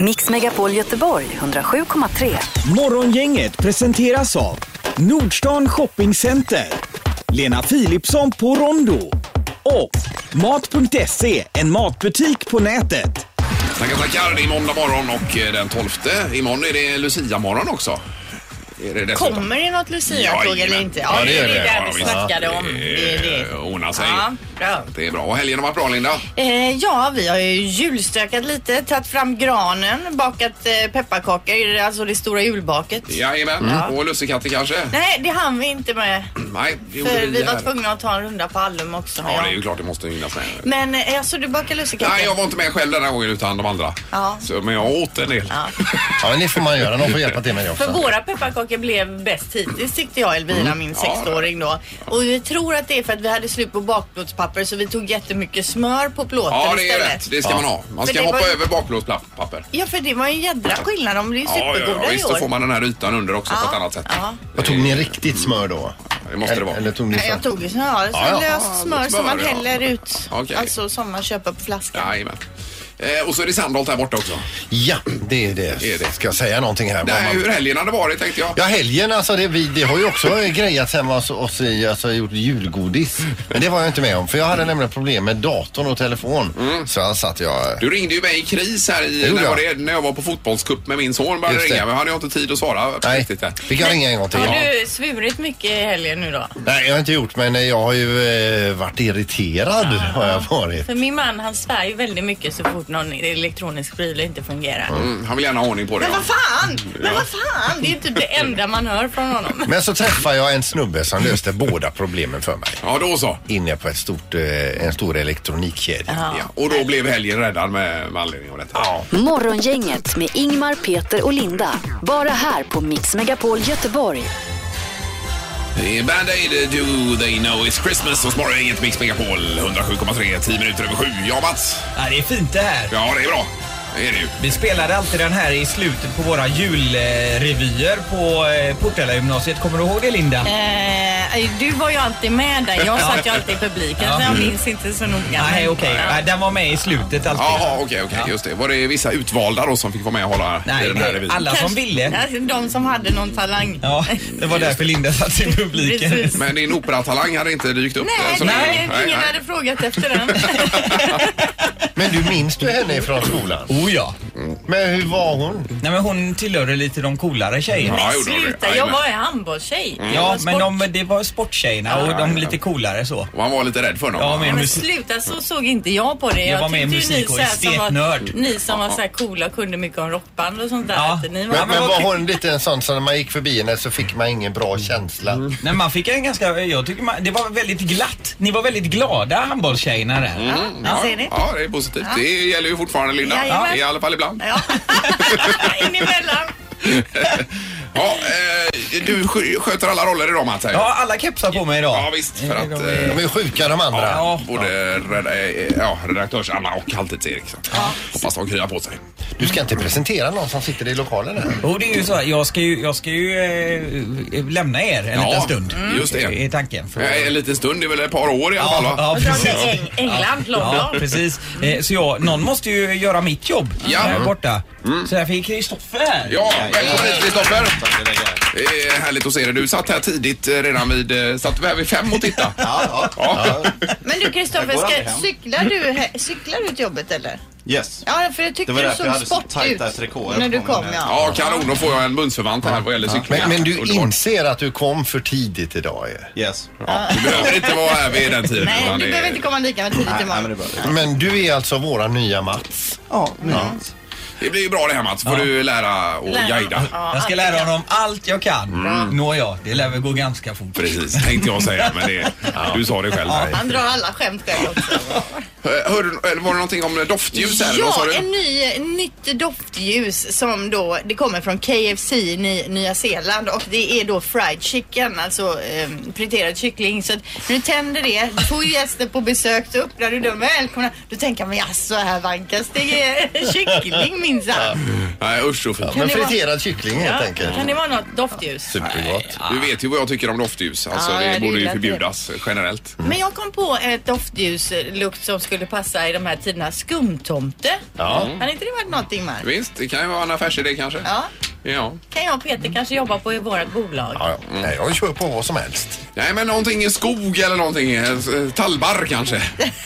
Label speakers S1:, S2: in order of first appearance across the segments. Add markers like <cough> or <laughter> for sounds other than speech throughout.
S1: Mix Megapol Göteborg 107,3.
S2: Morgongänget presenteras av Nordstan Shoppingcenter, Lena Philipsson på Rondo och Mat.se, en matbutik på nätet.
S3: Tackar, tackar. Det är måndag morgon och eh, den 12. Imorgon är det Lucia-morgon också. Är det dessutom?
S4: Kommer det något Lucia-tåg eller
S3: Jajamän.
S4: inte?
S3: Ja, det gör
S4: det
S3: det.
S4: där
S3: Ja,
S4: vi
S3: visst.
S4: snackade om. Det är det.
S3: Eh, Ordna sig.
S4: Ja, bra.
S3: Det är bra. Och helgen har varit bra, Linda.
S4: Eh, ja, vi har ju julstökat lite, tagit fram granen, bakat eh, pepparkakor, alltså det stora julbaket.
S3: Jajamän. Och lussekatter kanske?
S4: Mm. Nej, det hann vi inte med.
S3: Nej, det gjorde
S4: För vi var
S3: här.
S4: tvungna att ta en runda på Allum också.
S3: Ja, det är ju klart det måste hinnas med.
S4: Men eh, alltså, du bakar
S3: Nej, jag
S4: lussekatter?
S3: var inte med själv den här gången utan de andra.
S4: Ja.
S3: Så, men jag åt en del.
S4: Ja.
S5: Ja, men det får man göra. Någon får hjälpa till med det
S4: För
S5: också.
S4: våra pepparkakor blev bäst hittills tyckte jag Elvira, min
S3: Mm. Ja,
S4: sexåring då. Och vi tror att det är för att vi hade slut på bakplåtspapper så vi tog jättemycket smör på plåten
S3: Ja, det är
S4: istället.
S3: rätt. Det ska man ha. Man
S4: Men
S3: ska
S4: det
S3: hoppa
S4: var-
S3: över bakplåtspapper.
S4: Ja, för det var en jädra skillnad. De blev ju
S3: Ja, ja, ja,
S4: supergoda
S3: visst. Då
S4: i
S3: får
S4: år.
S3: man den här ytan under också på
S4: Ja,
S3: ett annat sätt.
S4: ja.
S5: Vad tog ni riktigt smör då?
S3: Det måste det vara.
S5: Eller tog ni
S4: Nej, jag
S5: så?
S4: tog ju sån här
S5: Ja, ja.
S3: Ja,
S4: löst smör
S3: smör,
S4: som man
S3: ja.
S4: häller ut.
S3: Okej.
S4: Alltså som man köper på flaska.
S3: Jajamän. Eh, och så är det Sandholt här borta också.
S5: Ja, det är det.
S3: Det är det.
S5: Ska jag säga någonting här? Vad
S3: Nej,
S5: man-
S3: hur helgen hade varit tänkte jag.
S5: Ja, helgen alltså, det, vi, det har ju också grejats hemma hos oss i, alltså gjort julgodis. Men det var jag inte med om, för jag hade nämligen problem med datorn och telefon. Så jag satt jag...
S3: Mm. Du ringde ju mig i kris här i,
S5: gjorde
S3: när, var det,
S5: jag.
S3: när jag var på fotbollscup med min son. Började
S5: Just det.
S3: ringa, men hade jag inte tid att svara. på
S5: Nej,
S3: riktigt där.
S5: fick jag ringa en gång till?
S4: Har du svurit mycket i helgen nu då?
S5: Nej, jag har inte gjort, men jag har ju eh, varit irriterad har jag varit.
S4: För min man han svär ju väldigt mycket så fort någon elektronisk pryl inte fungerar.
S3: Mm, han vill gärna ha ordning på det.
S4: Men
S3: ja.
S4: vad fan! Men vad fan! Det är ju typ det enda man hör från honom.
S5: Men så träffade jag en snubbe som löste båda problemen för mig.
S3: Ja, då så.
S5: Inne på ett stort, eh, en stor elektronikkedja.
S3: Ja. Och då blev helgen räddad med, med anledning av detta. Ja.
S1: Morgongänget med Ingmar, Peter och Linda. Bara här på Mix Megapol Göteborg.
S3: Det är Band-Aid, Do They Know It's Christmas och morgon inget Mix Megapol 107,3, 10 minuter över sju. Ja, Mats.
S6: Ja, det är fint det här.
S3: Ja, det är bra. Det är det ju.
S6: Vi spelade alltid den här i slutet på våra julrevyer på eh, Portella gymnasiet. Kommer du ihåg det Linda?
S4: Eh, du var ju alltid med där. Jag satt ju alltid i publiken så jag minns inte så noga.
S6: Nej,
S4: Men-
S6: okej.
S4: Ja.
S6: Nej, Den var med i slutet alltid.
S3: Jaha, okej, okej.
S6: Ja.
S3: Just det. Var det vissa utvalda då som fick vara med och hålla i
S6: Nej,
S3: den här
S6: det är
S3: revyn?
S6: alla som
S4: Kanske-
S6: ville.
S4: Alltså, De som hade någon talang.
S6: Ja, det var därför Linda satt i publiken.
S4: Precis.
S3: Men din operatalang hade inte dykt upp? eh,
S4: Nej,
S6: Alltså,
S3: så
S4: det,
S3: länge.
S4: ingen hade frågat
S6: <laughs>
S4: efter den.
S5: Men du minns du henne ifrån skolan?
S6: Oh ja.
S5: Men hur var hon?
S6: Nej, men hon tillhörde lite de coolare tjejerna.
S3: Ja, gjorde hon det.
S4: Sluta, jag
S3: Jajamän.
S4: var en handbollstjej.
S3: Mm.
S4: Jag
S6: Ja,
S4: var
S6: men
S4: sport-
S6: de, det var sporttjejerna och de lite coolare så.
S3: Och han var lite rädd för honom.
S6: Ja,
S4: Ja,
S6: men
S4: men
S6: musik.
S4: sluta, så såg inte jag på det.
S6: Jag var med i
S4: tyckte ju
S6: musik
S4: ni
S6: och
S4: så här som var-
S6: estetnörd.
S4: Ni som var så här coola och kunde mycket om rockband och sånt där.
S6: Ja.
S4: Att ni var...
S6: Ja,
S5: Men, men
S6: vad
S5: var
S6: tyck-
S5: hon lite en sån som när man gick förbi henne så fick man ingen bra känsla?
S6: Nej, man fick en ganska, jag tycker man, det var väldigt glatt. Ni var väldigt glada handbollstjejerna där.
S3: Mm.
S4: Vad säger ni?
S3: Ja, det är positivt. Det gäller ju fortfarande Linda.
S4: Jajamän.
S3: I alla fall ibland.
S4: Ja. <laughs> In emellan.
S3: Ja, eh, du sk- sköter alla roller idag Mats. säger jag.
S6: Ja, alla kepsar på mig idag.
S3: ja, visst. För att... Eh,
S5: De är sjuka de andra.
S3: Ja,
S6: Ja.
S3: både reda- eh, ja, redaktörs-Anna och halvtids-Erik. så att- Hoppas de kryar på sig.
S5: Du ska inte presentera någon som sitter i lokalen här.
S6: Och det är ju så här, jag ska ju, jag ska ju eh, lämna er en
S3: Ja,
S6: liten stund.
S3: mm. just det.
S6: I tanken. För,
S3: Eh, En liten stund, det är väl ett par år i alla fall va?
S6: ja,
S4: Och dra
S6: precis.
S4: till Eng- England,
S6: Ja,
S4: London.
S6: precis. Eh, Så jag, någon måste ju göra mitt jobb
S3: Ja. Mm.
S6: där borta. Så jag fick Kristoffer här.
S3: Ja, välkommen hit Kristoffer! Det är härligt att se dig. Du satt här tidigt eh, redan vid... eh, Satt du här vid fem och tittade?
S7: Ja,
S3: Ja.
S4: Men du Kristoffer,
S7: Jag går aldrig
S4: ska-
S7: hem.
S4: cyklar du, he- cyklar du till jobbet eller?
S7: Yes.
S4: Ja, för jag tyckte
S7: Det var
S4: du
S7: därför jag
S4: såg
S7: hade så
S4: sport ut
S7: tajta trikåer
S4: när
S7: på
S4: du
S7: mig
S4: kom.
S7: med.
S4: Ja.
S3: ja, kanon. Då får jag en bundsförvant här vad gäller cykling.
S5: Men, men du
S3: Underbart.
S5: inser att du kom för tidigt idag ju.
S7: Yes.
S3: Du behöver inte vara här vid den tiden.
S4: Nej,
S3: utan
S4: du
S3: det-
S4: behöver inte komma lika med tidigt
S7: Nej, nej, men det är
S4: imorgon.
S7: bra.
S5: Men du är alltså våra nya Mats.
S7: Ja, nu.
S3: Det blir ju bra det här Mats. får du lära och
S4: Lära.
S3: guida.
S4: Ja,
S6: Jag ska lära honom allt jag kan.
S3: Mm.
S6: Nåja, det lär väl gå ganska fort.
S3: Precis, tänkte jag säga. Men det, du sa det själv. Där.
S4: Han drar alla skämt själv också.
S3: Eh, Hörde, du- eller var det någonting om doftljus här? Vad sa
S4: Ja,
S3: du?
S4: en ny, en nytt doftljus som då, det kommer från KFC i Ny, Nya Zeeland och det är då fried chicken, alltså eh, friterad kyckling. Så att när du tänder det, du får gäster på besök, så öppnar du dem välkomna. Då tänker man jaså här vankas det är <laughs> kyckling minsann.
S3: Nej, usch så fint.
S5: Men
S4: det vara-
S5: friterad kyckling helt enkelt.
S4: Kan det vara något doftljus?
S5: Supergott.
S3: Du vet ju vad jag tycker om doftljus. Alltså,
S4: Ja, jag
S3: det
S4: hade
S3: borde ju
S4: gillat det.
S3: förbjudas generellt.
S4: Men jag kom på ett doftljuslukt som skulle passa i de här tiderna. Skumtomte.
S5: Ja.
S4: Hade inte det varit någonting Mark?
S3: Visst, det kan ju vara en affärsidé kanske.
S4: Ja.
S3: Ja.
S4: Kan jag och Peter kanske jobba på i vårt bolag?
S5: Ja, ja. Nej, jag kör på vad som helst.
S3: Nej, men någonting i skog eller någonting. eh, Tallbarr
S4: <laughs>
S3: kanske.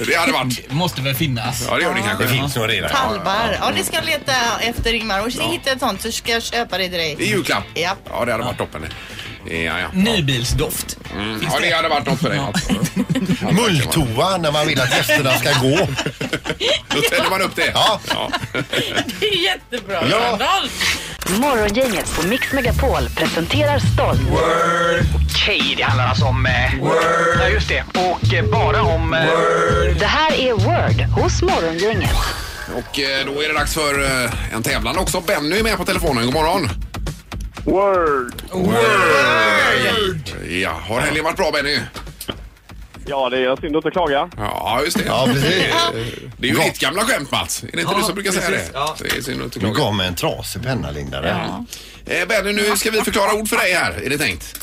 S3: Det hade varit.
S6: Måste väl finnas.
S3: Ja, det gör det kanske.
S5: Det finns nog redan.
S4: Talbar. Ja, det ska jag leta efter Ingmar. Och hitta ett sånt så ska jag köpa det till
S3: I
S4: dig.
S3: julklapp.
S4: Ja.
S3: Ja, det hade varit toppen. Ja, ja.
S6: Nybilsdoft.
S3: Mm, ja, det hade varit något för dig. alltså.
S5: Mulltoa när man vill att gästerna ska gå.
S3: Då tänder man upp det.
S5: Ja.
S4: Det är jättebra.
S5: Ja.
S4: Randolph.
S1: Morgongänget på Mix Megapol presenterar stolt.
S7: Okej, det handlar alltså om... Eh, Word. Ja, just det. Och eh, bara om... Eh,
S1: Det här är Word hos Morgongänget.
S3: Och eh, då är det dags för eh, en tävlan också. Benny är med på telefonen. God morgon.
S8: Word!
S3: Ja, har helgen varit bra Benny?
S8: Ja, det är synd att inte klaga.
S3: Ja, just det.
S5: Ja, precis.
S3: Det är ju
S5: Ja.
S3: ditt gamla skämt Mats. Är det inte
S6: Ja,
S3: du som brukar säga
S6: precis.
S3: det?
S6: Ja.
S3: Det är synd att inte
S5: Du
S3: klaga.
S5: gav mig en trasig penna, Linda. där.
S3: Eh, Benny, nu ska vi förklara ord för dig här, är det tänkt.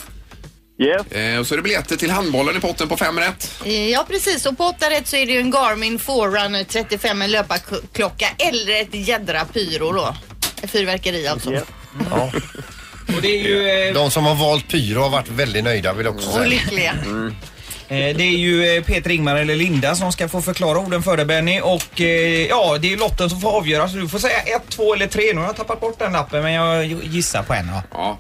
S8: Yes.
S3: Eh, och så är det biljetter till handbollen i potten på fem rätt.
S4: Ja precis och på 8 rätt så är det ju en Garmin Forerunner 35 en löparklocka eller ett jädra pyro då. Ett Fyrverkeri alltså.
S8: Yes.
S5: Ja.
S6: Och det är ju, eh,
S5: De som har valt pyro har varit väldigt nöjda vill jag också
S4: Och
S5: säga.
S4: lyckliga.
S6: eh, det är ju eh, Peter, Ingmar eller Linda som ska få förklara orden för dig Benny. Och eh, ja, det är ju lotten som får avgöra så du får säga ett, två eller tre. Nu har jag tappat bort den lappen men jag gissar på en. Ja.
S3: Ja.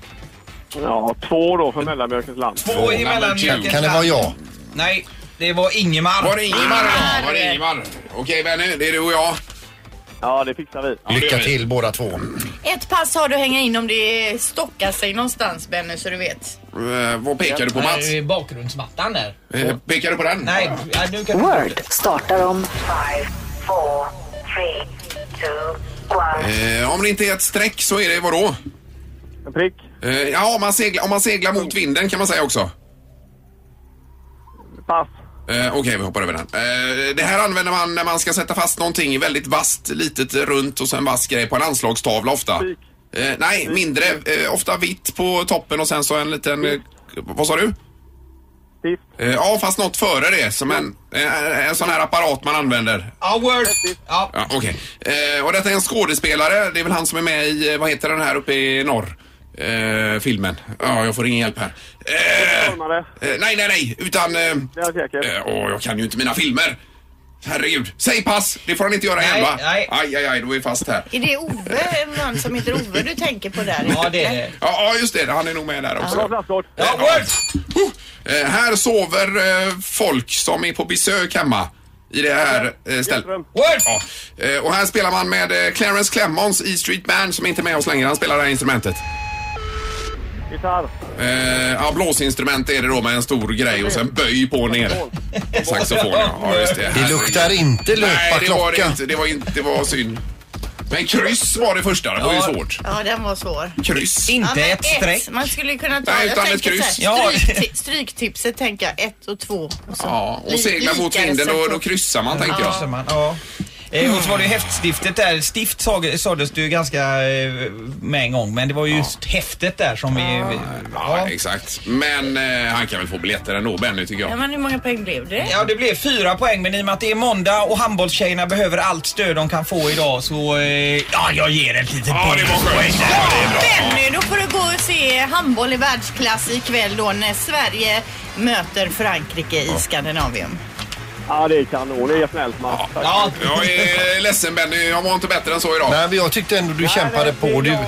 S8: Ja, två då för mellanmjölkens land.
S6: Två
S3: number
S6: emellan.
S3: two.
S6: vilken
S5: Kan det
S6: lapp?
S5: vara jag?
S6: Nej, det var Ingemar.
S3: Var det Ingemar idag? Var det Ingemar? Okej Benny, det är du och jag.
S8: Ja, det fixar vi.
S5: Lycka till båda två.
S4: Ett pass har du att hänga in om det stockar sig någonstans Benny så du vet.
S3: Eh, vad pekar du på Mats?
S9: Nej, bakgrundsmattan där.
S3: Eh, pekar du på den?
S6: Nej, ja, nu kan
S1: Word startar om
S3: Eh, om det inte är ett streck så är det vadå?
S8: En prick.
S3: Eh, ja, om man, seglar, om man seglar mot vinden kan man säga också.
S8: Pass.
S3: Eh, Okej, vi hoppar över den. Eh, det här använder man när man ska sätta fast någonting väldigt vasst, litet runt och sen vass grej på en anslagstavla ofta.
S8: Spik.
S3: Eh, nej, mindre. Eh, ofta vitt på toppen och sen så en liten... Eh, vad sa du?
S8: Tiff.
S3: Eh, ja, fast något före det. Som en, eh, en sån här apparat man använder.
S6: Ja, word. Ja.
S3: Ja, Okej. Eh, och detta är en skådespelare. Det är väl han som är med i, eh, vad heter den här uppe i norr? Eh, filmen. Ja, jag får ingen hjälp här. Eh,
S8: Stormare.
S3: eh, nej, nej, nej. Utan... Eh,
S8: Det är jag säker.
S3: Eh, åh, jag kan ju inte mina filmer. Herregud. Säg pass! Det får han inte göra
S6: Nej,
S3: igen va?
S6: nej.
S3: Aj, aj, aj, då är vi fast här.
S4: Är det Ove, någon som heter Ove du tänker på där?
S6: Ja, det är det.
S3: Ja, ja, just det. Han är nog med där också.
S8: Bra flaskor.
S6: Ja, word.
S3: Eh, här sover eh, folk som är på besök hemma. I det här eh, stället.
S8: Hjältrum.
S6: Word.
S3: Ja. Eh, och här spelar man med eh, Clarence Clemons E Street Band som inte är med oss längre. Han spelar det här instrumentet.
S8: Gitarr.
S3: Eh, ja, blåsinstrument är det då med en stor grej och sen böj på ner. Saxofon, ja. ja just det.
S5: Det luktar inte
S3: Nej, det var det
S5: löparklocka.
S3: inte. Det var, inte, det var synd. Men kryss var det första. Det var ju
S6: Ja.
S3: svårt.
S4: Ja den var svår.
S3: Kryss.
S4: Ja,
S6: Inte
S4: men
S6: ett streck.
S4: Man skulle kunna ta,
S3: Nej,
S4: jag
S3: utan ett
S4: tänker
S3: kryss.
S4: så
S6: Ja.
S4: här, strykti- Stryktipset tänker jag, ett och två. Och så
S3: Ja, och
S4: li-
S3: segla mot
S4: likare
S3: vinden,
S4: sätt
S3: då,
S4: på-
S3: då kryssar man tänker
S6: Så
S3: jag.
S6: man, ja. Eh, Och så var det ju häftstiftet där. Stift sa- sades det ju ganska eh, med en gång men det var ju just häftet där som vi... vi-
S3: Ja,
S6: Ja.
S3: exakt. Men eh, han kan väl få biljetter ändå, Benny, tycker
S4: Ja
S3: jag.
S4: men hur många poäng blev det?
S6: Ja, det blev fyra poäng men i och med att det är måndag och handbollstjejerna behöver allt stöd de kan få idag så... Eh, ja, jag ger ett litet
S3: Ja, det var skönt. Ja, det är bra.
S4: Benny, då får du gå och se handboll i världsklass ikväll då när Sverige möter Frankrike i Skandinavien.
S8: Ja, det är kanon. Det är snällt, Mats. Tack.
S6: Ja,
S3: Jag är ledsen, Benny. Jag var inte bättre än så idag.
S5: Nej, men jag tyckte ändå du kämpade på. Du,
S8: Nej, du gjorde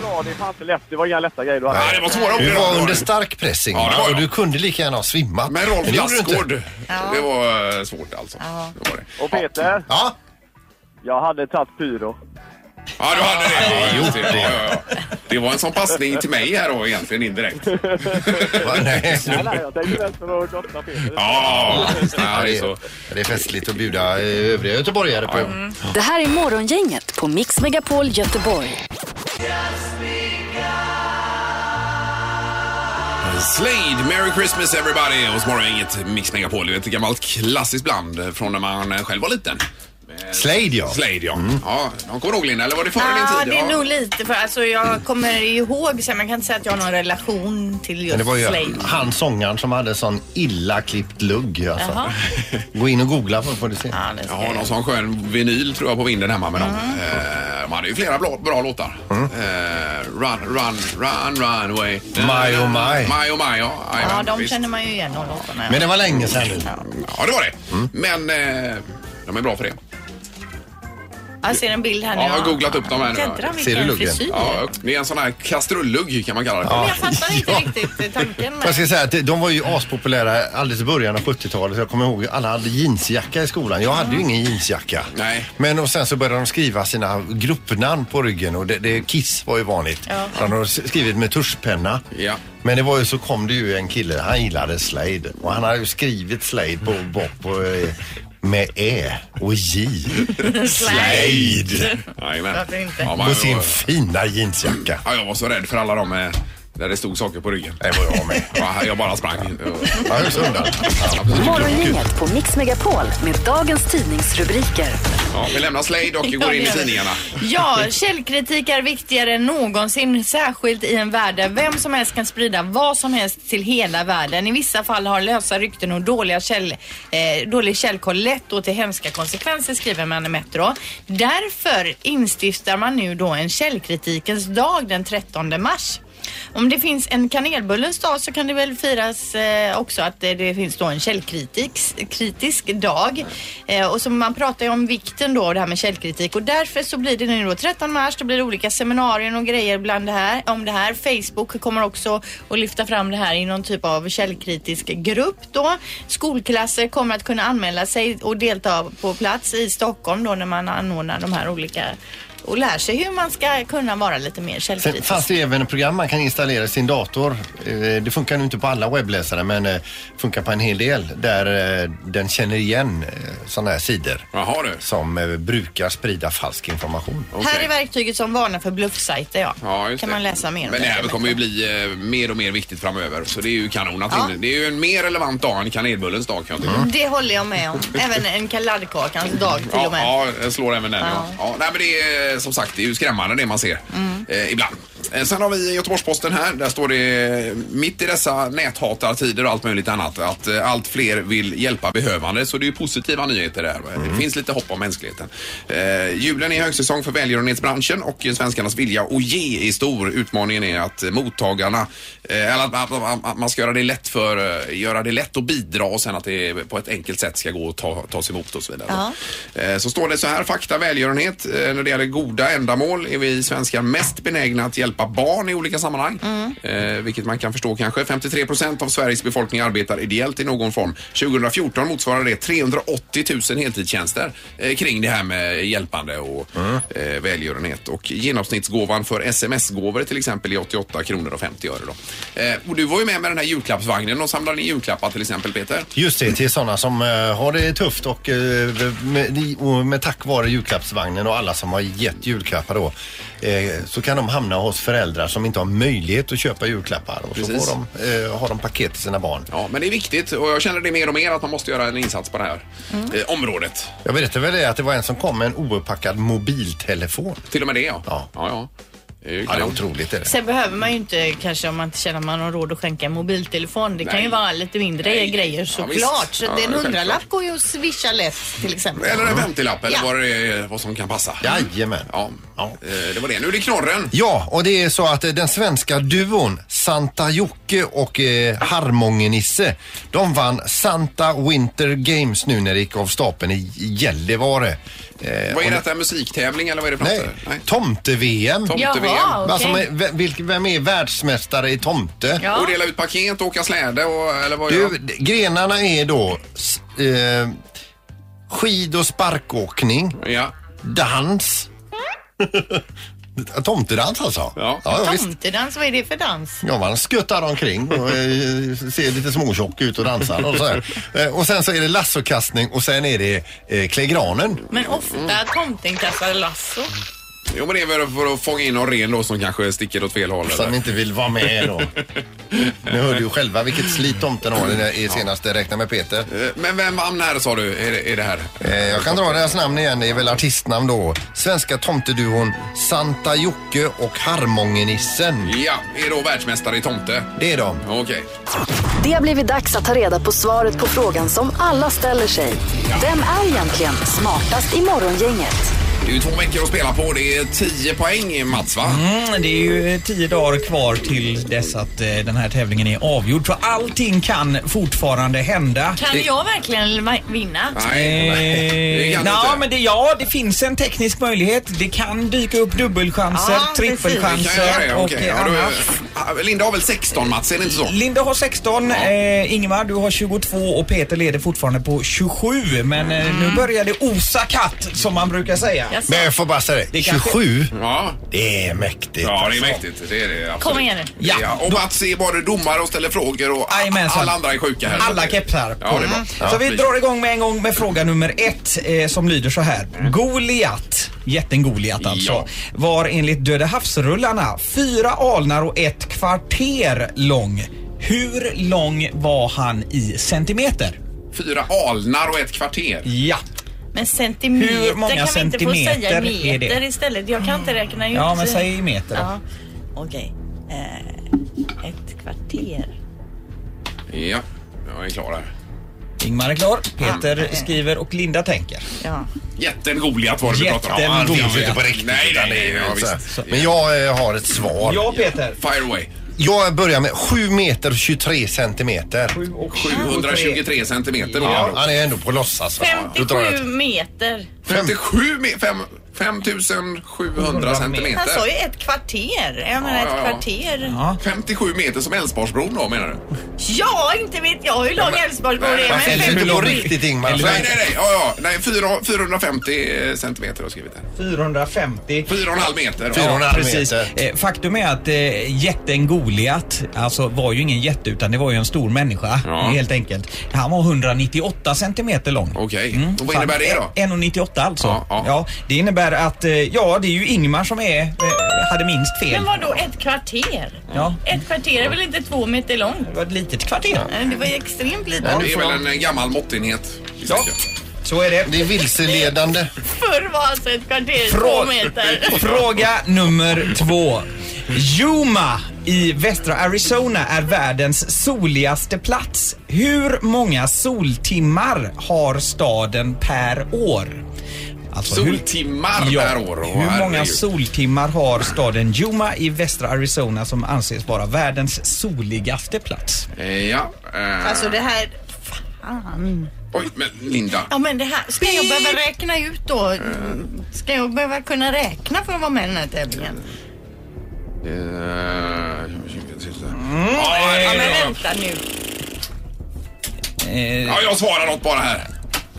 S8: bra. Det är fan inte lätt. Det var inga lätta grejer du hade.
S3: Nej, det var svåra ord
S5: du
S3: idag.
S5: var under stark press
S3: Ja, det var
S5: Ingmar
S3: jag.
S5: och du kunde lika gärna ha svimmat.
S3: Men Rolf
S5: det gjorde du inte.
S3: Lassgård,
S4: Ja.
S3: det var eh, svårt alltså.
S4: Ja.
S3: Det var det.
S8: Och Peter,
S5: Ja,
S8: jag hade tagit pyro.
S3: Ja, du hade det.
S5: Jo,
S3: just det. Ja, ja, ja. Det var en sån passning till mig här då egentligen indirekt. <laughs>
S5: Va, nej.
S8: Nej, nej, jag tänkte mest för att gotta Peter.
S3: Ja, ja, det är
S5: Det
S3: så.
S5: är, det är festligt att bjuda eh, övriga göteborgare på.
S1: Det här är Morgongänget på Mix Megapol Göteborg.
S3: Slade, Merry Christmas everybody! Och så var det inget Mix Megapol, det är ett gammalt klassiskt band från när man eh, själv var liten.
S5: Slade ja.
S3: Slade ja.
S5: Mm.
S3: ja. De kommer ihåg Linda, eller var det före
S4: Ja,
S3: din
S4: det
S3: tid?
S4: är nog lite för alltså jag kommer ihåg sen, man kan inte säga att jag har någon relation till
S5: Men
S4: just
S5: det var ju
S4: Slade.
S5: han sångaren som hade sån illa klippt lugg. Alltså.
S4: Jaha.
S5: Gå in och googla så får du se.
S4: Ja, det ska
S3: Ja,
S4: jag.
S3: någon sån skön vinyl tror jag på vinden hemma med dem.
S4: Mm.
S3: Eh, de hade ju flera bra, bra låtar.
S5: Mm.
S3: Eh, run, run, run, run away.
S5: My, oh, my.
S3: My oh my, ja.
S4: Ja,
S3: Jajamän,
S4: de
S3: visst.
S4: känner man ju igen de låtarna.
S5: Men det var länge sedan nu.
S3: Ja, det var det.
S5: Mm.
S3: Men eh, de är bra för det.
S4: Jag ser en bild här nu.
S3: Ja, jag har googlat upp dem här nu.
S4: Jädrar
S5: Ser du
S4: vilken
S5: luggen?
S4: frisyr.
S3: Ja, det är en sån här kastrullugg kan man kalla det.
S4: Men
S3: Ja.
S4: jag fattar inte riktigt tanken med
S5: Jag ska säga att de var ju aspopulära alldeles i början av 70-talet. Jag kommer ihåg alla hade jeansjacka i skolan. Jag hade ju ingen jeansjacka.
S3: Nej.
S5: Men och sen så började de skriva sina gruppnamn på ryggen och det, det, Kiss var ju vanligt.
S4: Ja.
S5: Så De hade skrivit med tuschpenna.
S3: Ja.
S5: Men det var ju så kom det ju en kille, han gillade Slade och han hade ju skrivit Slade på, på, på eh, med E och J.
S3: <laughs>
S5: Slade!
S3: Jajamän.
S4: Varför inte?
S3: Ja,
S5: På
S3: man,
S5: sin fina jeansjacka.
S3: ja, jag var så rädd för alla de eh, där det stod saker på ryggen.
S5: Det var jag med.
S3: Ja, jag bara sprang.
S5: Ja, jag är så undan.
S1: Morgongänget på Mix Megapol med dagens tidningsrubriker.
S3: Ja, vi lämnar Slade och
S4: Ja,
S3: går
S4: det
S3: in i
S4: gör vi.
S3: tidningarna.
S4: Ja, källkritik är viktigare än någonsin, särskilt i en värld där vem som helst kan sprida vad som helst till hela världen. I vissa fall har lösa rykten och dåliga käll, eh, dålig källkoll lett då till hemska konsekvenser, skriver man i Metro. Därför instiftar man nu då en källkritikens dag den 13 mars. Om det finns en kanelbullens dag så kan det väl firas eh, också att det, det finns då en källkritisk kritisk dag. Eh, och så man pratar ju om vikten då av det här med källkritik och därför så blir det nu då 13 mars, det blir olika seminarier och grejer bland det här, om det här. Facebook kommer också att lyfta fram det här i någon typ av källkritisk grupp då. Skolklasser kommer att kunna anmäla sig och delta på plats i Stockholm då när man anordnar de här olika och lär sig hur man ska kunna vara lite mer
S5: Sen
S4: källkritisk.
S5: fanns det även ett program man kan installera i sin dator. Eh, Det funkar nu inte på alla webbläsare men eh, funkar på en hel del där eh, den känner igen sådana här sidor
S3: Jaha du.
S5: som eh, brukar sprida falsk information.
S3: Okej.
S4: Här är verktyget som varnar för bluffsajter. Ja.
S3: Ja, just
S4: kan
S3: det.
S4: man läsa mer om
S3: Men det här kommer ju bli eh, mer och mer viktigt framöver. Så det är ju kanon att in- Det är ju en mer relevant dag än kanelbullens dag kan jag tycka.
S4: Det håller jag
S3: <laughs>
S4: med om. Även en kaladkakans dag till och med.
S3: Ja, ja, jag slår även den. Ja.
S4: Ja. Mm.
S3: Ja, nej, men det är eh, som sagt det är ju skrämmande det man ser eh, ibland. Eh, sen har vi Göteborgs-Posten här. Där står det eh, mitt i dessa näthatartider och allt möjligt annat att eh, allt fler vill hjälpa behövande. Så det är ju positiva nyheter där. Det finns lite hopp om mänskligheten. Eh, julen är högsäsong för välgörenhetsbranschen och svenskarnas vilja att ge är stor. Utmaningen är att eh, mottagarna, eh, eller att, att, att, att man ska göra det lätt för, eh, göra det lätt att bidra och sen att det på ett enkelt sätt ska gå att ta, tas emot och så vidare.
S4: Ja.
S3: Eh, Så står det så här, fakta välgörenhet. Eh, När det gäller goda ändamål är vi svenskar mest benägna att hjälpa barn i olika sammanhang. Eh, Vilket man kan förstå kanske. 53 procent av Sveriges befolkning arbetar ideellt i någon form. 2014 motsvarar det 380 000 heltidstjänster eh, kring det här med hjälpande och eh, välgörenhet. Och genomsnittsgåvan för sms-gåvor till exempel är 88 kronor och 50 öre. Då. Eh, Och du var ju med med den här julklappsvagnen och samlade in julklappar till exempel Peter.
S5: Just det, till sådana som eh, har det tufft och eh, med, och med tack vare julklappsvagnen och alla som har gett julklappar då eh, så kan de hamna hos föräldrar som inte har möjlighet att köpa julklappar och
S3: Precis.
S5: så får de, eh, har de paket till sina barn.
S3: Ja, men det är viktigt och jag känner det mer och mer att man måste göra en insats på det här
S5: Mm.
S3: eh, området.
S5: Jag berättade väl det att det var en som kom med en ouppackad mobiltelefon.
S3: Till och med det ja.
S5: Ja.
S3: ja, ja. Det är ju
S5: Ja, det är
S3: kanon.
S5: otroligt. Är det.
S4: Sen behöver man ju inte kanske om man inte känner att man har råd att skänka en mobiltelefon. Det
S3: Nej.
S4: kan ju vara lite mindre
S3: Nej.
S4: grejer
S3: Ja,
S4: såklart.
S3: visst.
S4: så
S3: Ja,
S4: det är en
S3: självklart.
S4: hundralapp går ju att swisha lätt till exempel.
S3: Eller en 50-lapp eller
S4: Ja.
S3: vad, det är, vad som kan passa.
S5: Jajamän.
S3: Ja.
S5: Mm. Ja.
S3: Eh, Det var det. Nu är det knorren.
S5: Ja, och det är så att eh, den svenska duon Santa Jocke och eh, Harmångenisse, de vann Santa Winter Games nu när det gick av stapeln i Gällivare. Eh,
S3: Vad är
S5: och-
S3: detta? Musiktävling eller vad är det för
S5: Nej,
S3: något?
S5: tomte-VM.
S3: Tomte
S4: Jaha,
S3: VM.
S4: okej.
S5: Alltså, men ve- vilk- vem är världsmästare i tomte?
S4: Ja.
S3: Och dela ut paket, åka släde och eller vad gör
S5: Du,
S3: man?
S5: d- grenarna är då s- eh, skid och sparkåkning,
S3: Ja.
S5: dans.
S4: Mm.
S5: <laughs> Tomtedans alltså?
S3: Ja.
S5: visst.
S4: Tomtedans, vad är det för dans?
S5: Ja, man skuttar omkring och eh, ser lite småtjock ut och dansar och så här. Eh, Och sen så är det lassokastning och sen är det eh, klä granen.
S3: Mm.
S4: Men ofta tomten kastar lasso.
S3: Jo, men det är väl för att fånga in någon ren då som kanske sticker åt fel håll.
S5: Som
S3: Eller?
S5: inte vill vara med då. Nu hörde ju själva vilket slit tomten har i den- i senaste Räkna med Peter.
S3: Eh, Men vem hamnar här sa du? Är det, är det här?
S5: Eh, Jag kan dra deras namn igen, det är väl artistnamn då. Svenska tomteduon Santa Jocke och Harmongenissen.
S3: Ja, är då världsmästare i tomte.
S5: Det är de.
S3: Okej.
S1: Det har blivit dags att ta reda på svaret på frågan som alla ställer sig. Vem är egentligen smartast i Morgongänget?
S3: Det är ju två veckor att spela på. Det är 10 poäng Mats, va?
S6: Mm, det är ju eh, tio dagar kvar till dess att eh, den här tävlingen är avgjord. Så allting kan fortfarande hända.
S4: Kan jag verkligen ma- vinna?
S3: Nej, det
S6: Eh,
S3: kan
S6: nej,
S3: inte.
S6: men det, ja, det finns en teknisk möjlighet. Det kan dyka upp dubbelchanser,
S4: Ja, precis.
S3: Vi kan göra
S6: trippelchanser
S3: det.
S6: och
S3: okej.
S6: eh,
S3: Ja, du-
S6: annat.
S3: Ah, Linda har väl 16 Mats, är det inte så?
S6: Linda har 16,
S3: Ja.
S6: eh, Ingmar du har 22 och Peter leder fortfarande på 27. Men eh,
S4: Mm.
S6: nu börjar det osa katt som man brukar säga.
S4: Jaså?
S5: Men jag får bara säga
S6: Det
S5: det,
S6: kanske-
S5: 27,
S3: Ja.
S5: det är mäktigt.
S3: ja, det är mäktigt. Det är det absolut.
S4: Kom igen nu.
S3: Ja.
S6: Ja.
S3: och Mats är bara domare och ställer frågor och a-
S6: Jajamensan.
S3: alla andra är sjuka här.
S6: Alla kepsar.
S3: Ja, det är bra. Ja,
S6: Så vi
S3: vi-
S6: drar igång med en gång med fråga nummer ett eh, som lyder så här. Goliat, jätten Goliat alltså,
S3: Mm. Ja.
S6: var enligt Döda havsrullarna fyra alnar och ett kvarter lång. Hur lång var han i centimeter?
S3: Fyra alnar och ett kvarter.
S6: Ja.
S4: Men centimeter
S6: Hur många
S4: kan vi
S6: centimeter
S4: inte få säga
S6: är det?
S4: meter istället? Jag kan inte räkna ut.
S6: Ja, men säg i meter då.
S4: Ja. Okej. Eh, ett kvarter.
S3: Ja, jag är klar här.
S6: Ingmar är klar, Peter skriver och Linda tänker.
S4: Ja.
S3: Jätten Goliat var det vi
S6: Jätten
S3: pratade om. Ja, det finns ju
S6: Goliat.
S3: inte på riktigt. Nej, nej, nej. Ja,
S5: Så här.
S3: visst.
S5: Men jag eh, har ett svar.
S6: Ja Peter.
S3: Fire away.
S5: Jag börjar med 7 meter och 23 centimeter.
S3: 723 centimeter.
S5: Ja,
S3: Ja.
S5: han är ändå på låtsas. va? Då drar jag
S4: 57
S5: ett-
S4: meter.
S3: 57 me- fem- 5700
S4: Han sa ju
S3: centimeter.
S4: ett kvarter. Jag menar
S3: Ja, ja,
S4: ett
S3: ja.
S4: kvarter.
S3: 57 meter som Älvsborgsbron då menar du?
S4: Ja, inte vet jag hur lång
S3: men-
S4: Älvsborgsbron
S3: Nej,
S4: är.
S5: Han
S4: Men
S5: finns ju
S4: fem-
S5: inte på riktigt Ingmar. Så-
S3: Nej, nej, nej. Ja, ja. nej fyra- 450 centimeter har jag skrivit här.
S6: 450.
S3: 4,5 meter.
S5: Fyra och en
S3: Ja.
S5: halv
S6: Precis.
S5: meter.
S6: Eh, Faktum är att eh, jätten Goliat alltså, var ju ingen jätte utan det var ju en stor människa
S3: Ja.
S6: helt enkelt. Han var 198 centimeter lång.
S3: Okej. Och vad innebär det då?
S6: 1,98 alltså.
S3: Ja,
S6: Ja,
S3: ja.
S6: det innebär att eh, ja, det är ju Ingmar som är, eh, hade minst fel.
S4: Men vadå ett kvarter?
S6: Ja.
S4: Ett kvarter är väl inte två meter långt?
S6: Det var ett litet kvarter.
S4: Nej, Det var ju extremt lite.
S3: Det är väl en gammal måttenhet.
S6: Ja, så är det.
S5: Det är vilseledande.
S4: Förr var alltså ett kvarter två
S6: Från-
S4: meter.
S6: Fråga nummer två. Yuma i västra Arizona är världens soligaste plats. Hur många soltimmar har staden per år? Alltså, hur-
S3: Soltimmar
S6: Ja,
S3: per år. Åh,
S6: hur många
S3: herregud.
S6: soltimmar har staden Yuma i västra Arizona som anses vara världens soligaste plats?
S3: Eh, Ja. eh,
S4: Alltså det här...
S3: Oj, men Linda.
S4: Ja men det här... Ska jag behöva räkna ut då? Ska jag behöva kunna räkna för att vara med i den här tävlingen?
S3: Eh,
S4: Ja
S3: Ja,
S4: men
S3: ja,
S4: vänta nu.
S6: Eh,
S3: ja, jag svarar något bara här.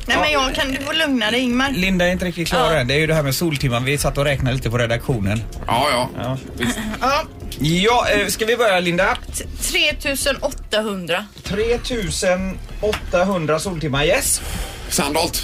S4: Nej men jag kan... Du får lugna dig Ingmar.
S6: Linda är inte riktigt klar
S4: Ja.
S6: än. Det är ju det här med soltimmar. Vi satt och räknade lite på redaktionen.
S3: Ja, ja. Visst.
S4: Ja,
S6: Ja, eh, ska vi börja Linda?
S4: t- 3800.
S6: 3800 soltimmar, yes.
S3: Sandholt.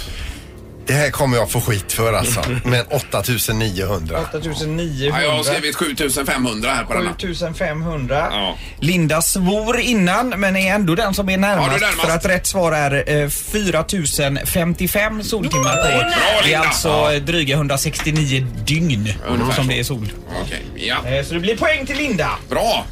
S5: Det här kommer jag få skit för alltså. Men 8900.
S6: 8900.
S3: Ja, jag har skrivit 7500 här på denna.
S6: 7500.
S3: Ja.
S6: Linda svor innan men är ändå den som är närmast,
S3: Ja, du är närmast.
S6: för att rätt svar är eh, 4055 soltimmar på
S4: Bra,
S6: Det är
S3: Linda.
S6: alltså eh, dryga 169 dygn
S3: Ungefär
S6: som
S3: så.
S6: det är sol.
S3: Okej, ja.
S6: Eh, Så det blir poäng till Linda.
S3: Bra.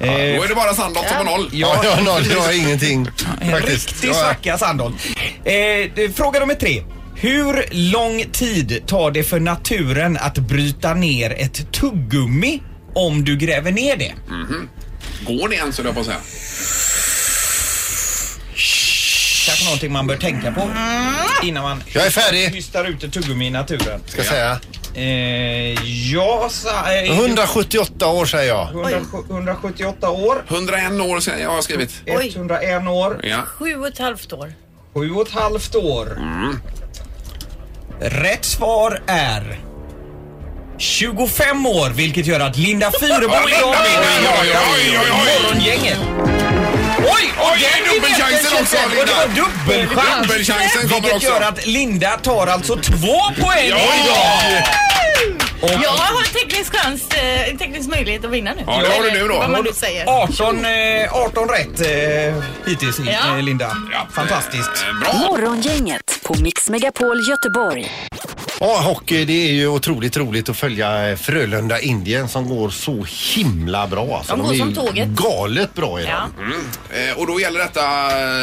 S6: Eh,
S3: Då är det bara Sandholt som har noll.
S5: Ja,
S6: Ja.
S5: jag har noll. Jag har ingenting.
S6: En
S5: Faktiskt.
S6: riktig
S5: Ja,
S6: svacka Sandholm. Eh, det- fråga nummer tre. Hur lång tid tar det för naturen att bryta ner ett tuggummi om du gräver ner det?
S3: Går det ens, höll jag på att säga.
S6: Kanske någonting man bör tänka på innan man
S5: Jag är färdig.
S6: hystar ut ett tuggummi i naturen.
S5: Ska säga.
S6: Eh, ja, sa, eh,
S5: 178 år säger jag.
S6: 100, 178 år,
S3: 101 år sen jag har skrivit.
S4: Oj.
S6: 101 år,
S3: Ja.
S4: Sju och ett halvt år.
S6: sju och ett halvt år.
S3: Mm.
S6: Rätt svar är 25 år, vilket gör att Linda Fyrebo
S3: Oj,
S6: idag
S3: oj, oj, oj, oj, oj, oj.
S6: Morgongänget. Oj,
S3: Oj, det är dubbelchansen också,
S6: Och det
S3: Linda.
S6: var dubbelchans.
S3: Dubbelchansen kommer
S6: Vilket
S3: också.
S6: gör att Linda tar alltså två poäng
S3: Ja!
S6: idag. Och
S4: Jag har teknisk chans, eh, teknisk möjlighet att vinna nu.
S3: Ja, det har du nu då.
S4: Vad man nu säger.
S6: 18, eh, 18 rätt eh, hittills,
S4: Ja.
S6: eh, Linda.
S3: Ja.
S6: Fantastiskt.
S3: Eh, Bra!
S1: Morgongänget på Mix Megapol Göteborg.
S5: Ja, hockey det är ju otroligt roligt att följa Frölunda-Indien som går så himla bra. Alltså,
S4: De går
S5: är
S4: som
S5: ju
S4: tåget.
S5: galet bra idag.
S4: Ja.
S3: Eh, Och då gäller detta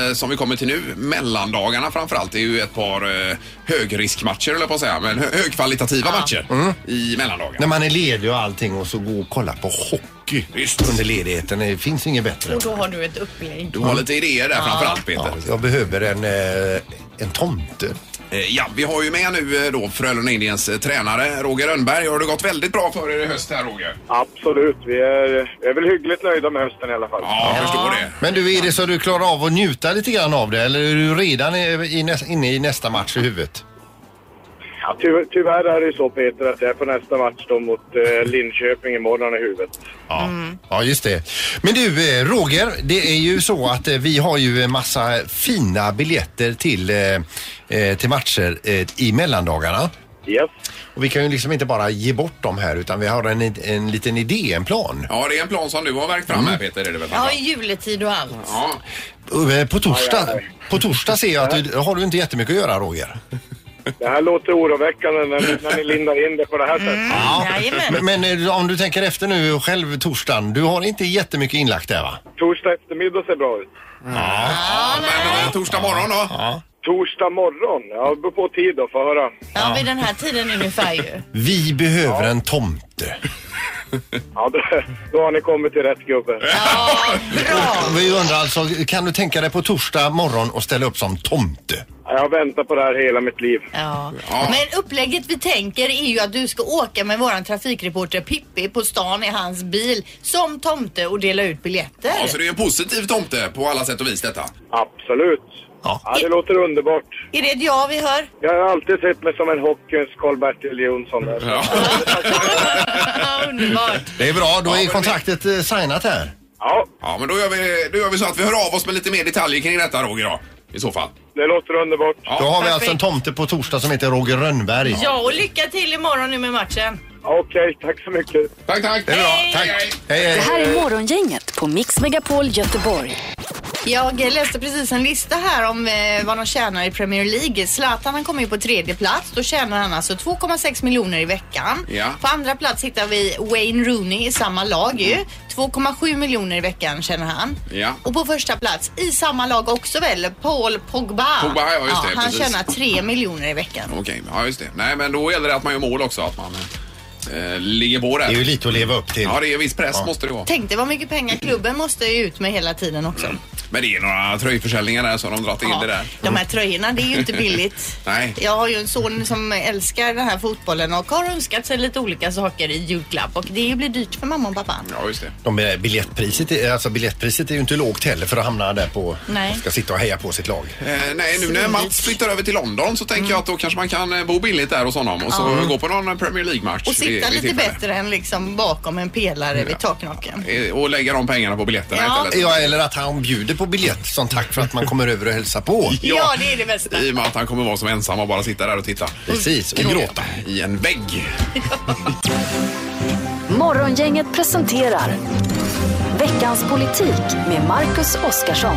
S3: eh, som vi kommer till nu, mellandagarna framförallt. Det är ju ett par eh, högriskmatcher eller på att säga, men hö- högkvalitativa matcher
S5: Mm.
S3: i
S5: När
S3: mellandagarna.
S5: man är ledig och allting och så gå och kolla på hockey
S3: Just.
S5: under ledigheten. Det finns inget bättre.
S4: Och då har du ett upplägg.
S3: Du har lite idéer där framförallt Peter.
S5: Ja, jag behöver en, eh, en tomte.
S3: Eh, Ja, vi har ju med nu eh, då Frölunda Indiens eh, tränare Roger Rönnberg. Har det gått väldigt bra för er i höst här Roger?
S8: Absolut. Vi är, vi är väl hyggligt nöjda med hösten i alla fall.
S3: Ja, jag förstår det.
S5: Men du, är det så du klarar av att njuta lite grann av det eller är du redan i, i näs, inne i nästa match i huvudet?
S8: Ja, ty, tyvärr är det ju så Peter att det är på nästa match då mot eh, Linköping imorgon i huvudet.
S5: Ja.
S4: Mm.
S5: ja, just det. Men du, eh, Roger, det är ju så att eh, vi har ju en massa fina biljetter till, eh, eh, till matcher eh, i mellandagarna.
S8: Yes.
S5: Och vi kan ju liksom inte bara ge bort dem här utan vi har en, en liten idé, en plan.
S3: Ja, det är en plan som du har verkt fram
S5: Mm.
S3: här Peter, är det väl?
S4: Ja,
S3: framförallt?
S4: juletid och allt.
S3: Ja.
S5: Eh, På torsdag, på torsdag ser jag att du, har du inte jättemycket att göra, Roger.
S8: Det här låter oroväckande när, när ni lindar in det på det här sättet.
S4: Mm. Jajamän.
S5: Men, men eh, om du tänker efter nu själv torsdagen, du har inte jättemycket inlagt där va?
S8: Torsdag eftermiddag ser bra ut.
S3: Ja, men eh, torsdag morgon då?
S8: Torsdag morgon? Ja, det beror på tid då, få höra.
S4: Ja, vid den här tiden ungefär ju.
S5: Vi behöver en tomte.
S8: Ja, då, då har ni kommit till rätt gubbe.
S4: Ja, bra.
S5: Vi undrar alltså, kan du tänka dig på torsdag morgon och ställa upp som tomte?
S8: Ja, Jag har väntat på det här hela mitt liv.
S4: Ja. Men upplägget vi tänker är ju att du ska åka med våran trafikreporter Pippi på stan i hans bil som tomte och dela ut biljetter.
S3: Ja, så det är en positiv tomte på alla sätt och vis detta.
S8: Absolut.
S5: Ja.
S8: Ja, det låter underbart.
S4: Är det ett ja vi hör?
S8: Jag har alltid sett mig som en hockeyns Karl-Bertil Jonsson. Där.
S3: Ja.
S4: Underbart.
S5: <laughs> Det är bra, då är
S3: men-
S5: kontraktet eh, signat här.
S8: Ja,
S3: Ja, men då gör, vi, då gör vi så att vi hör av oss med lite mer detaljer kring detta Roger då, i så fall.
S8: det låter underbart.
S5: Då har vi
S4: perfekt.
S5: alltså en tomte på torsdag som heter Roger Rönnberg.
S4: Ja, och lycka till imorgon nu med matchen.
S8: Okej, tack så mycket.
S3: Tack, tack!
S5: Det är bra, tack. Hej,
S1: Det
S5: hej.
S1: här är Morgongänget på Mix Megapol Göteborg.
S4: Jag läste precis en lista här om eh, vad de tjänar i Premier League. Zlatan han kommer ju på tredje plats. Då tjänar han alltså 2,6 miljoner i veckan.
S3: Ja.
S4: På andra plats hittar vi Wayne Rooney i samma lag ju. 2,7 miljoner i veckan tjänar han.
S3: Ja.
S4: Och på första plats i samma lag också väl Paul Pogba.
S3: Pogba, ja, just det,
S4: han
S3: precis.
S4: tjänar 3 miljoner i veckan.
S3: Okej, ja just det. Nej, men då gäller det att man gör mål också, att man eh, ligger på
S5: Det är ju
S3: där.
S5: lite att leva upp till.
S3: Ja, det är viss press måste det vara.
S4: Tänk dig vad mycket pengar klubben måste ju ut med hela tiden också.
S3: Men det är några tröjförsäljningar där så har de dragit in det där.
S4: De här tröjorna, det är ju inte billigt.
S3: Nej.
S4: Jag har ju en son som älskar den här fotbollen och har önskat sig lite olika saker i julklapp och det blir dyrt för mamma och pappa.
S3: Ja, just det.
S5: De är biljettpriset, är- alltså biljettpriset är ju inte lågt heller för att hamna där på...
S4: Nej.
S5: Ska sitta och heja på sitt lag.
S3: Eh, nej, nu när Mats flyttar över till London så tänker jag
S4: Mm.
S3: att då kanske man kan eh, bo billigt där hos honom och så gå på någon Premier League-match.
S4: Och
S3: vid-
S4: sitta
S3: vid
S4: lite
S3: tillfälle.
S4: bättre än liksom bakom en pelare vid taknocken.
S3: Eh, Och lägga de pengarna på biljetterna
S4: Ja.
S3: istället.
S5: Ja, eller att han bjuder på biljett som tack för att man kommer över och
S4: <laughs>
S5: hälsar på.
S4: Ja. det är
S3: <laughs>
S4: det bästa.
S3: I och med att han kommer vara som ensam och bara sitta där och titta
S5: Precis, och gråta.
S3: i en vägg.
S1: Morgongänget presenterar Veckans politik med Marcus Oskarsson.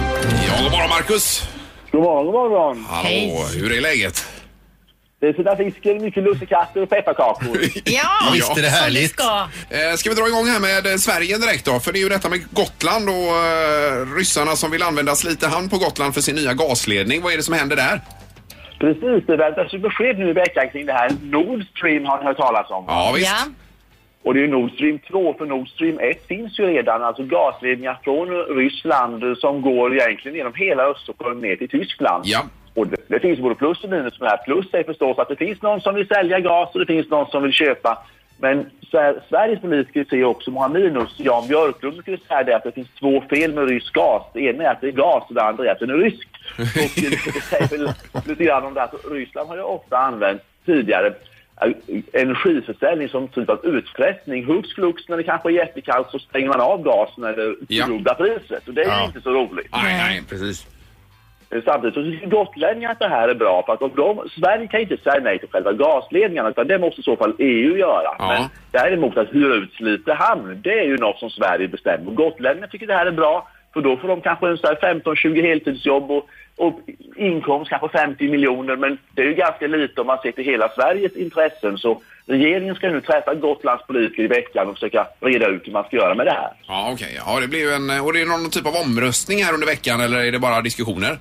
S3: Ja, god morgon Marcus!
S8: God morgon, god morgon.
S3: Hallå,
S4: Hej.
S3: hur är läget?
S8: Det är sådär fisken, mycket lussekatter och pepparkakor.
S4: Ja,
S5: Visst är det
S4: som
S5: härligt?
S4: ska.
S3: Eh, Ska vi dra igång här med eh, Sverige direkt då? För det är ju detta med Gotland och eh, ryssarna som vill använda Slitehamn på Gotland för sin nya gasledning. Vad är det som händer där?
S8: Precis, det väntas ju besked nu i veckan kring det här. Nord Stream har ni hört talas om.
S3: Ja, visst.
S4: Ja.
S8: Och det är ju Nord Stream 2, för Nord Stream 1 finns ju redan. Alltså gasledningar från Ryssland eh, som går egentligen genom hela Östersjön ner till Tyskland.
S3: Ja.
S8: Och det, det finns både plus och minus med det här. Plus är förstås att det finns någon som vill sälja gas och det finns någon som vill köpa. Men Sver- Sveriges politiker ser också många minus. Jan Björklund skulle säga det att det finns två fel med rysk gas. Det ena är att det är gas och det andra är att den är rysk. Och det säger väl lite grann om det. Alltså, Ryssland har ju ofta använt tidigare eh, energiförsäljning som typ av utpressning. Hux flux när det kanske är jättekallt så stänger man av gasen eller
S3: Ja.
S8: fördubblar priset. Och det är ju
S5: Ja.
S8: inte så roligt.
S3: Nej, nej, precis.
S8: Eh, Samtidigt så tycker gotlänningarna att det här är bra. För att om de, Sverige kan inte säga nej till själva gasledningarna utan det måste i så fall EU göra.
S3: Ja.
S8: Men däremot att hyra ut Slite hamn, det är ju något som Sverige bestämmer. Och gotlänningarna tycker det här är bra för då får de kanske en så här 15-20 heltidsjobb och, och inkomst kanske 50 miljoner. Men det är ju ganska lite om man ser till hela Sveriges intressen. Så regeringen ska nu träffa Gotlands politiker i veckan och försöka reda ut hur man ska göra med det här.
S3: Ja, okej. Ja, det blir ju en... Och det är någon typ av omröstning här under veckan eller är det bara diskussioner?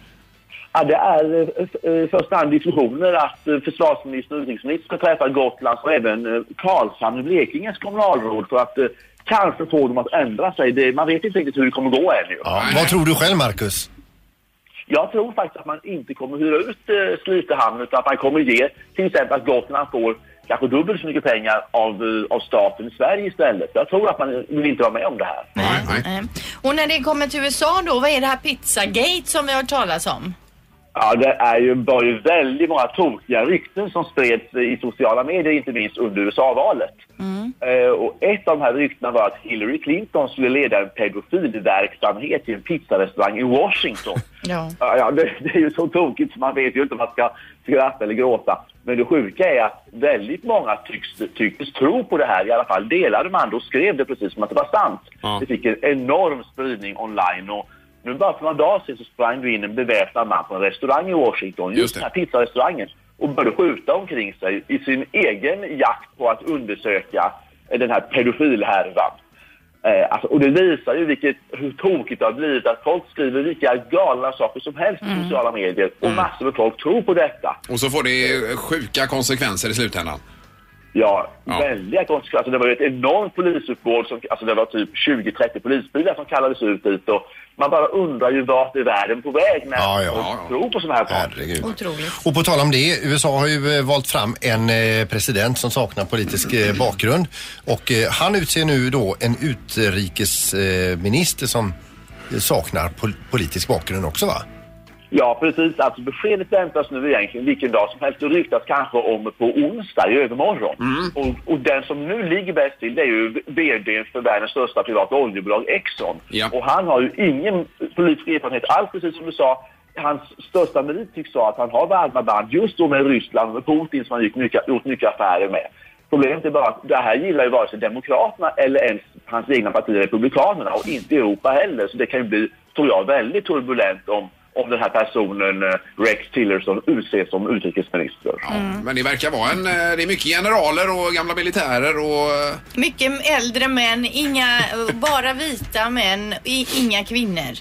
S8: Ja, det är eh, f- eh, i första hand diskussioner att eh, försvarsministern och utrikesministern ska träffa Gotlands och även eh, Karlshamn och Blekinges kommunalråd för att eh, kanske få dem att ändra sig. Det, man vet inte riktigt hur det kommer gå ännu.
S5: Ja, vad tror du själv, Marcus?
S8: Jag tror faktiskt att man inte kommer hyra ut eh, Slite hamn utan att man kommer ge till exempel att Gotland får kanske dubbelt så mycket pengar av, eh, av staten i Sverige istället. Jag tror att man eh, vill inte vara med om det här.
S3: Nej, nej.
S4: Nej. Eh, Och när det kommer till USA då, vad är det här pizzagate som vi har hört talas om?
S8: Ja, det är ju, var ju väldigt många tokiga rykten som spreds i sociala medier, inte minst under USA-valet. Eh, och ett av de här ryktena var att Hillary Clinton skulle leda en pedofilverksamhet i en pizzarestaurang i Washington.
S4: Ja.
S8: Ja, ja det, det är ju så tokigt så man vet ju inte om man ska skratta eller gråta. Men det sjuka är att väldigt många tycks, tycks tro på det här. I alla fall delade man det och skrev det precis som att det var sant.
S3: Ja.
S8: Det fick en enorm spridning online. Och nu bara för några dagar sedan så sprang du in en beväpnad man på en restaurang i Washington, just,
S3: Just det.
S8: den här pizzarestaurangen, och började skjuta omkring sig i sin egen jakt på att undersöka eh, den här pedofilhärvan. Eh, alltså, och det visar ju vilket, hur tokigt det har blivit att folk skriver vilka galna saker som helst
S3: Mm.
S8: i sociala medier och massor med folk tror på detta.
S3: Och så får det sjuka konsekvenser i slutändan.
S8: Ja,
S3: Ja.
S8: väldiga konsekvenser. Alltså, det var ju ett enormt polisuppbåd, som, alltså det var typ 20-30 polisbilar som kallades ut dit och man bara undrar ju vart är världen på väg när
S5: Ja, ja.
S8: folk
S3: Ja, ja.
S8: tror på sådana här saker.
S5: Herregud.
S4: Otroligt.
S5: Och på tal om det, USA har ju eh, valt fram en eh, president som saknar politisk eh, bakgrund. Och eh, han utser nu då en utrikesminister som eh, saknar pol- politisk bakgrund också va?
S8: Ja, precis. Alltså beskedet väntas nu egentligen vilken dag som helst. Det ryktas kanske om på onsdag i övermorgon.
S3: Mm.
S8: Och, och den som nu ligger bäst till det är ju VD för världens största privata oljebolag Exxon.
S3: Ja.
S8: Och han har ju ingen politisk erfarenhet alls, precis som du sa. Hans största merit tycks vara att han har varma band just då med Ryssland och med Putin som han gick mycket, gjort mycket affärer med. Problemet är bara att det här gillar ju vare sig Demokraterna eller ens hans egna parti Republikanerna och inte Europa heller. Så det kan ju bli, tror jag, väldigt turbulent om om den här personen eh, Rex Tillerson utses som utrikesminister.
S3: Ja. Men det verkar vara en... eh, Det är mycket generaler och gamla militärer och... eh,
S4: Mycket äldre män, inga, bara vita män, i, inga kvinnor.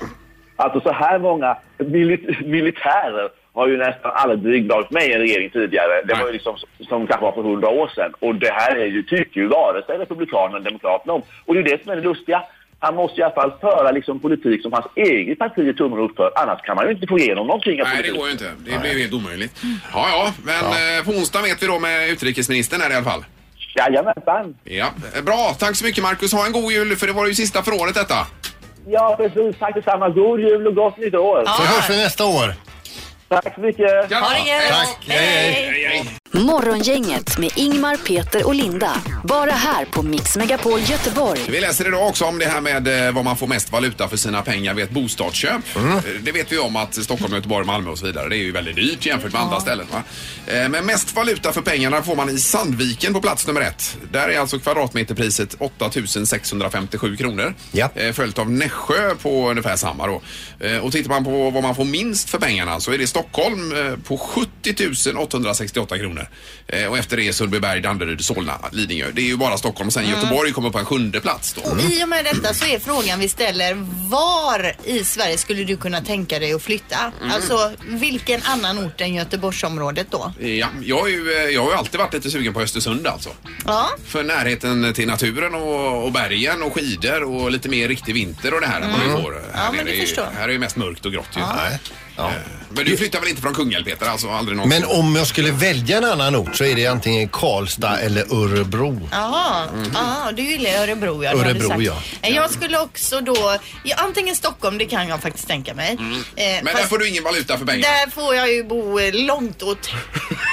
S8: Alltså så här många mili- militärer har ju nästan aldrig varit med i en regering tidigare. Det var ju liksom s- som kanske var för hundra år sedan. Och det här är ju, tycker ju vare sig Republikanerna eller Demokraterna om. Och det är det som är det lustiga. Han måste i alla fall föra liksom politik som hans eget parti är tummen upp för. Annars kan man ju inte få igenom någonting. av
S3: Nej, det
S8: politiken.
S3: går ju inte. Det blir ju helt omöjligt. Ja, ja. Men eh, på onsdag vet vi då med utrikesministern här i alla fall.
S8: Jajamensan.
S3: Ja. Eh, Bra. Tack så mycket, Marcus. Ha en god jul, för det var ju sista för året detta.
S8: Ja, precis. Tack detsamma. God jul och gott nytt år.
S5: Så hörs vi nästa år.
S8: Tack så mycket.
S3: Ja.
S4: Ha det gött!
S5: Tack.
S4: Hej!
S1: Morgongänget med Ingmar, Peter och Linda. Bara här på Mix Megapol Göteborg.
S3: Vi läser idag också om det här med eh, vad man får mest valuta för sina pengar vid ett bostadsköp. Eh, Det vet vi om att Stockholm, Göteborg, Malmö och så vidare. Det är ju väldigt dyrt jämfört med andra ställen. Va? Eh, Men mest valuta för pengarna får man i Sandviken på plats nummer ett. Där är alltså kvadratmeterpriset 8 657 kronor.
S5: Ja.
S3: Eh, Följt av Nässjö på ungefär samma då. Eh, Och tittar man på vad man får minst för pengarna så är det Stockholm eh, på 70 868 kronor. Eh, Och efter det är Sundbyberg, Danderyd, Solna, Lidingö. Det är ju bara Stockholm. Sen Göteborg kommer på en sjunde plats då.
S4: Och I och med detta så är frågan vi ställer var i Sverige skulle du kunna tänka dig att flytta?
S5: Mm.
S4: Alltså vilken annan ort än Göteborgsområdet då?
S3: Ja, jag, är ju, eh, jag har ju alltid varit lite sugen på Östersund alltså.
S4: Ja,
S3: För närheten till naturen och, och bergen och skidor och lite mer riktig vinter och det här än vad vi får här
S4: Ja, men det
S3: är ju-
S4: förstår jag.
S3: Här är ju mest mörkt och grått ju. Eh,
S5: Nej. Ja.
S3: Men du flyttar väl inte från Kungälv Peter? Alltså aldrig någonsin?
S5: Men om jag skulle välja en annan ort så är det antingen Karlstad eller Örebro.
S4: jaha. Ja, du gillar Örebro ja. det har du
S5: Mm. Örebro,
S4: sagt.
S5: ja.
S4: Eh, Jag skulle också då, ja, antingen Stockholm, det kan jag
S5: Mm.
S4: faktiskt tänka mig. Eh,
S3: Men där
S4: fast
S3: får du ingen valuta för pengarna.
S5: <laughs>
S4: där får jag ju bo eh, långt åt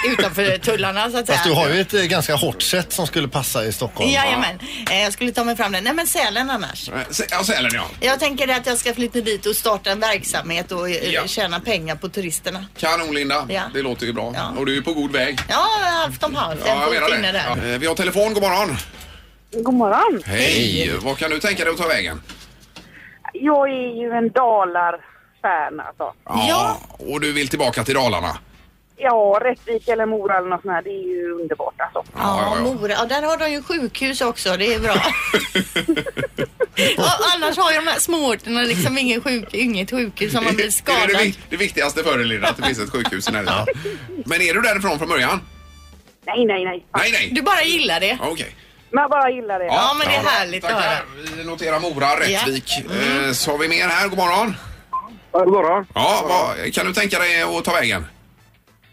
S4: utanför tullarna så att säga.
S5: Fast du har ju ett eh, ganska hårt sätt som skulle passa i Stockholm.
S4: Jajamän. Eh, Jag skulle ta mig fram den. Nej men Sälen annars.
S3: Eh, sä- Ja, Sälen ja.
S4: Jag tänker att jag ska flytta dit och starta en verksamhet och eh,
S3: Ja.
S4: tjäna pengar på turisterna.
S3: Kanon Linda.
S4: Ja.
S3: Det låter ju bra.
S4: Ja.
S3: Och du är ju på god väg.
S4: Ja, halvt om halvt. En fot inne där.
S3: Ja, eh, Vi har telefon, god morgon.
S9: God morgon.
S3: Hej! Vad kan du tänka dig att ta vägen?
S9: Jag är ju en Dalar-fan alltså.
S4: Ja.
S3: Och du vill tillbaka till Dalarna?
S9: Ja, Rättvik eller Mora eller något sånt här, det är ju underbart alltså.
S4: Ja, Mora. Ja, där har de ju sjukhus också. Det är bra.
S3: <laughs>
S4: ja, annars har ju de här småorterna liksom ingen sjuk, inget sjukhus om man
S3: <laughs>
S4: blir
S3: Det är det,
S4: skadad.
S3: vik- det viktigaste för dig Linda, att det finns ett sjukhus i närheten. Men är du därifrån från början?
S9: Nej, nej, nej.
S3: Nej, nej.
S4: Du bara gillar det.
S3: Okej.
S9: Men jag bara gillar det.
S4: Ja, men det är
S3: bra.
S4: härligt att höra. Mm.
S3: Tackar. Vi noterar Mora, Rättvik. Eh, Så har vi mer här. God morgon.
S10: God morgon.
S3: Ja, vad, kan du tänka dig att ta vägen?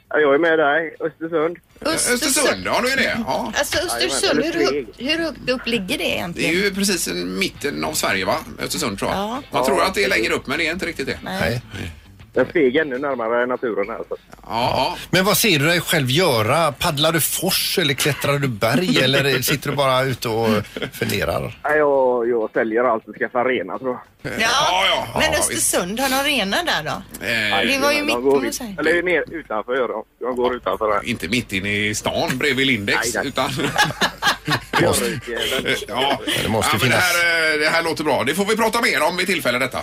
S10: Jag är med dig, Östersund.
S3: Östersund, ja du är det. Ja.
S4: Alltså Östersund,
S10: Jajamän,
S4: hur,
S10: det är
S4: högt- hur högt upp ligger det
S3: Det är
S4: egentligen?
S3: ju precis i mitten av Sverige va? Östersund tror jag.
S4: Ja.
S3: Man tror att det är längre upp men det är inte riktigt det. Ja,
S5: Nej.
S10: Jag steg ännu närmare naturen här. Så.
S3: ja.
S5: Men vad ser du dig själv göra? Paddlar du fors eller klättrar du berg eller eh, sitter du bara ute och funderar?
S10: Nej, Jag, jag säljer allt och skaffar arena tror jag.
S3: Ja, ja, ja,
S4: Men
S3: visst.
S4: Östersund, har de arena där då?
S3: Eh,
S4: Det var ju
S10: De
S4: mitt
S10: går
S4: emot
S10: ut-
S4: sig.
S10: Eller ner utanför gör de. De går utanför här.
S3: Eh, Inte mitt inne i stan bredvid Lindex
S10: Nej, nej.
S3: utan...
S10: Björkjäveln.
S3: ja.
S5: Det måste
S3: ja, men det,
S5: finnas.
S3: här, eh, det här låter bra. Det får vi prata mer om vid tillfälle detta.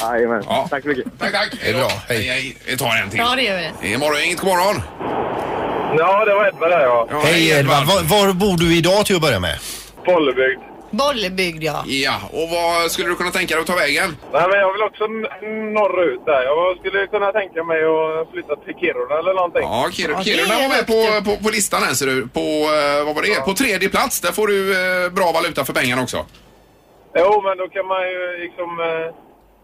S10: Jajamän.
S3: Ja.
S10: Tack så mycket.
S3: Tack, tack.
S5: Det är bra. Hej.
S3: hej, hej. Vi tar en till.
S4: Ja, det gör vi.
S3: Det är morgon, inget god morgon.
S10: Ja, det var Edvard där ja.
S3: Ja,
S5: Hej Edvard, var, var bor du idag till att börja med?
S10: Bollebygd.
S4: Bollebygd ja.
S3: Ja, och vad skulle du kunna tänka dig att ta vägen?
S10: Nej, men jag vill också n- norrut där. Jag skulle kunna tänka mig att flytta till Kiruna eller någonting.
S3: Ja, Kir-
S4: Ja,
S3: Kiruna
S4: det
S3: var
S4: är
S3: med på,
S4: högt
S3: på, på listan här ser du. På, eh, vad var det? På tredje plats. Där får du eh, bra valuta för pengarna också.
S10: Jo, men då kan man ju liksom eh,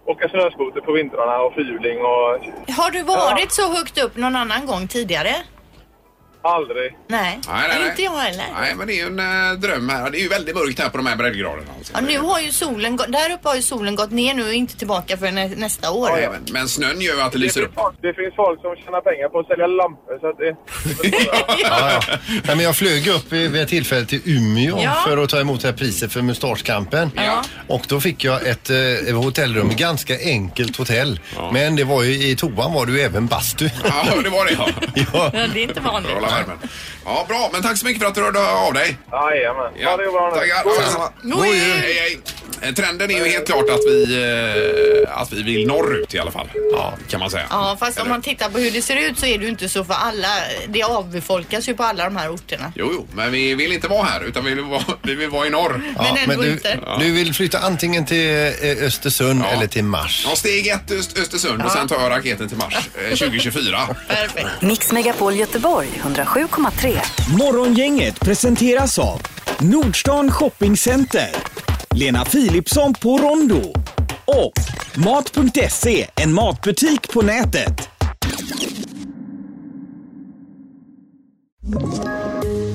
S10: åka snöskoter på vintrarna och fyrhjuling och...
S4: Har du varit så högt upp någon annan gång tidigare?
S10: Aldrig.
S4: Nej,
S3: Nej, nej, nej.
S4: inte jag heller.
S3: Nej, men det är ju en eh, dröm här. Det är ju väldigt mörkt här på de här breddgraderna. Alltså.
S4: Ja, nu har ju solen gått, där uppe har ju solen gått ner nu och inte tillbaka för nä, nästa år.
S3: Nej, men, men snön gör ju att det lyser upp.
S10: folk, det finns folk som tjänar pengar på att sälja lampor så att
S3: <laughs>
S10: det...
S5: Ja, <laughs> ja. Nej, men jag flög upp vid vid ett tillfälle till Umeå
S4: Ja.
S5: för att ta emot det här priset för mustaschkampen.
S3: Ja.
S5: Och då fick jag ett eh, hotellrum, ganska enkelt hotell. Men det var ju, i toan var det ju även bastu.
S3: Ja, det var det ja.
S5: <laughs>
S10: <laughs>
S5: ja.
S4: Ja, det är inte vanligt.
S3: Hålla värmen. Ja, bra. Men tack så mycket för att du hörde av dig.
S10: Jajamän. Ja, det är bra nu.
S3: Tackar.
S10: God jul.
S3: Samma.
S4: God jul.
S3: Hej, hej. Eh, Trenden är ju helt klart att vi, eh, att vi vill norrut i alla fall. Ja. Kan man säga.
S4: Ja, fast om
S3: Eller-
S4: man tittar på hur det ser ut så är det ju inte så för alla. Det avbefolkas ju på alla de här orterna.
S3: Jo, jo, men vi vill inte vara här utan vi vill vara, vi vill vara i norr.
S5: Ja,
S4: ändå
S5: du,
S4: inte.
S5: du vill flytta antingen till eh, Östersund eller till Mars.
S3: Ja, steg ett Öst, Östersund och sen tar jag raketen till Mars eh,
S4: <laughs>
S3: 2024.
S4: Perfekt.
S1: Mix Megapol Göteborg 107,3.
S2: Morgongänget presenteras av Nordstan Shoppingcenter, Lena Philipsson på Rondo och Mat.se, en matbutik på nätet.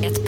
S11: Ett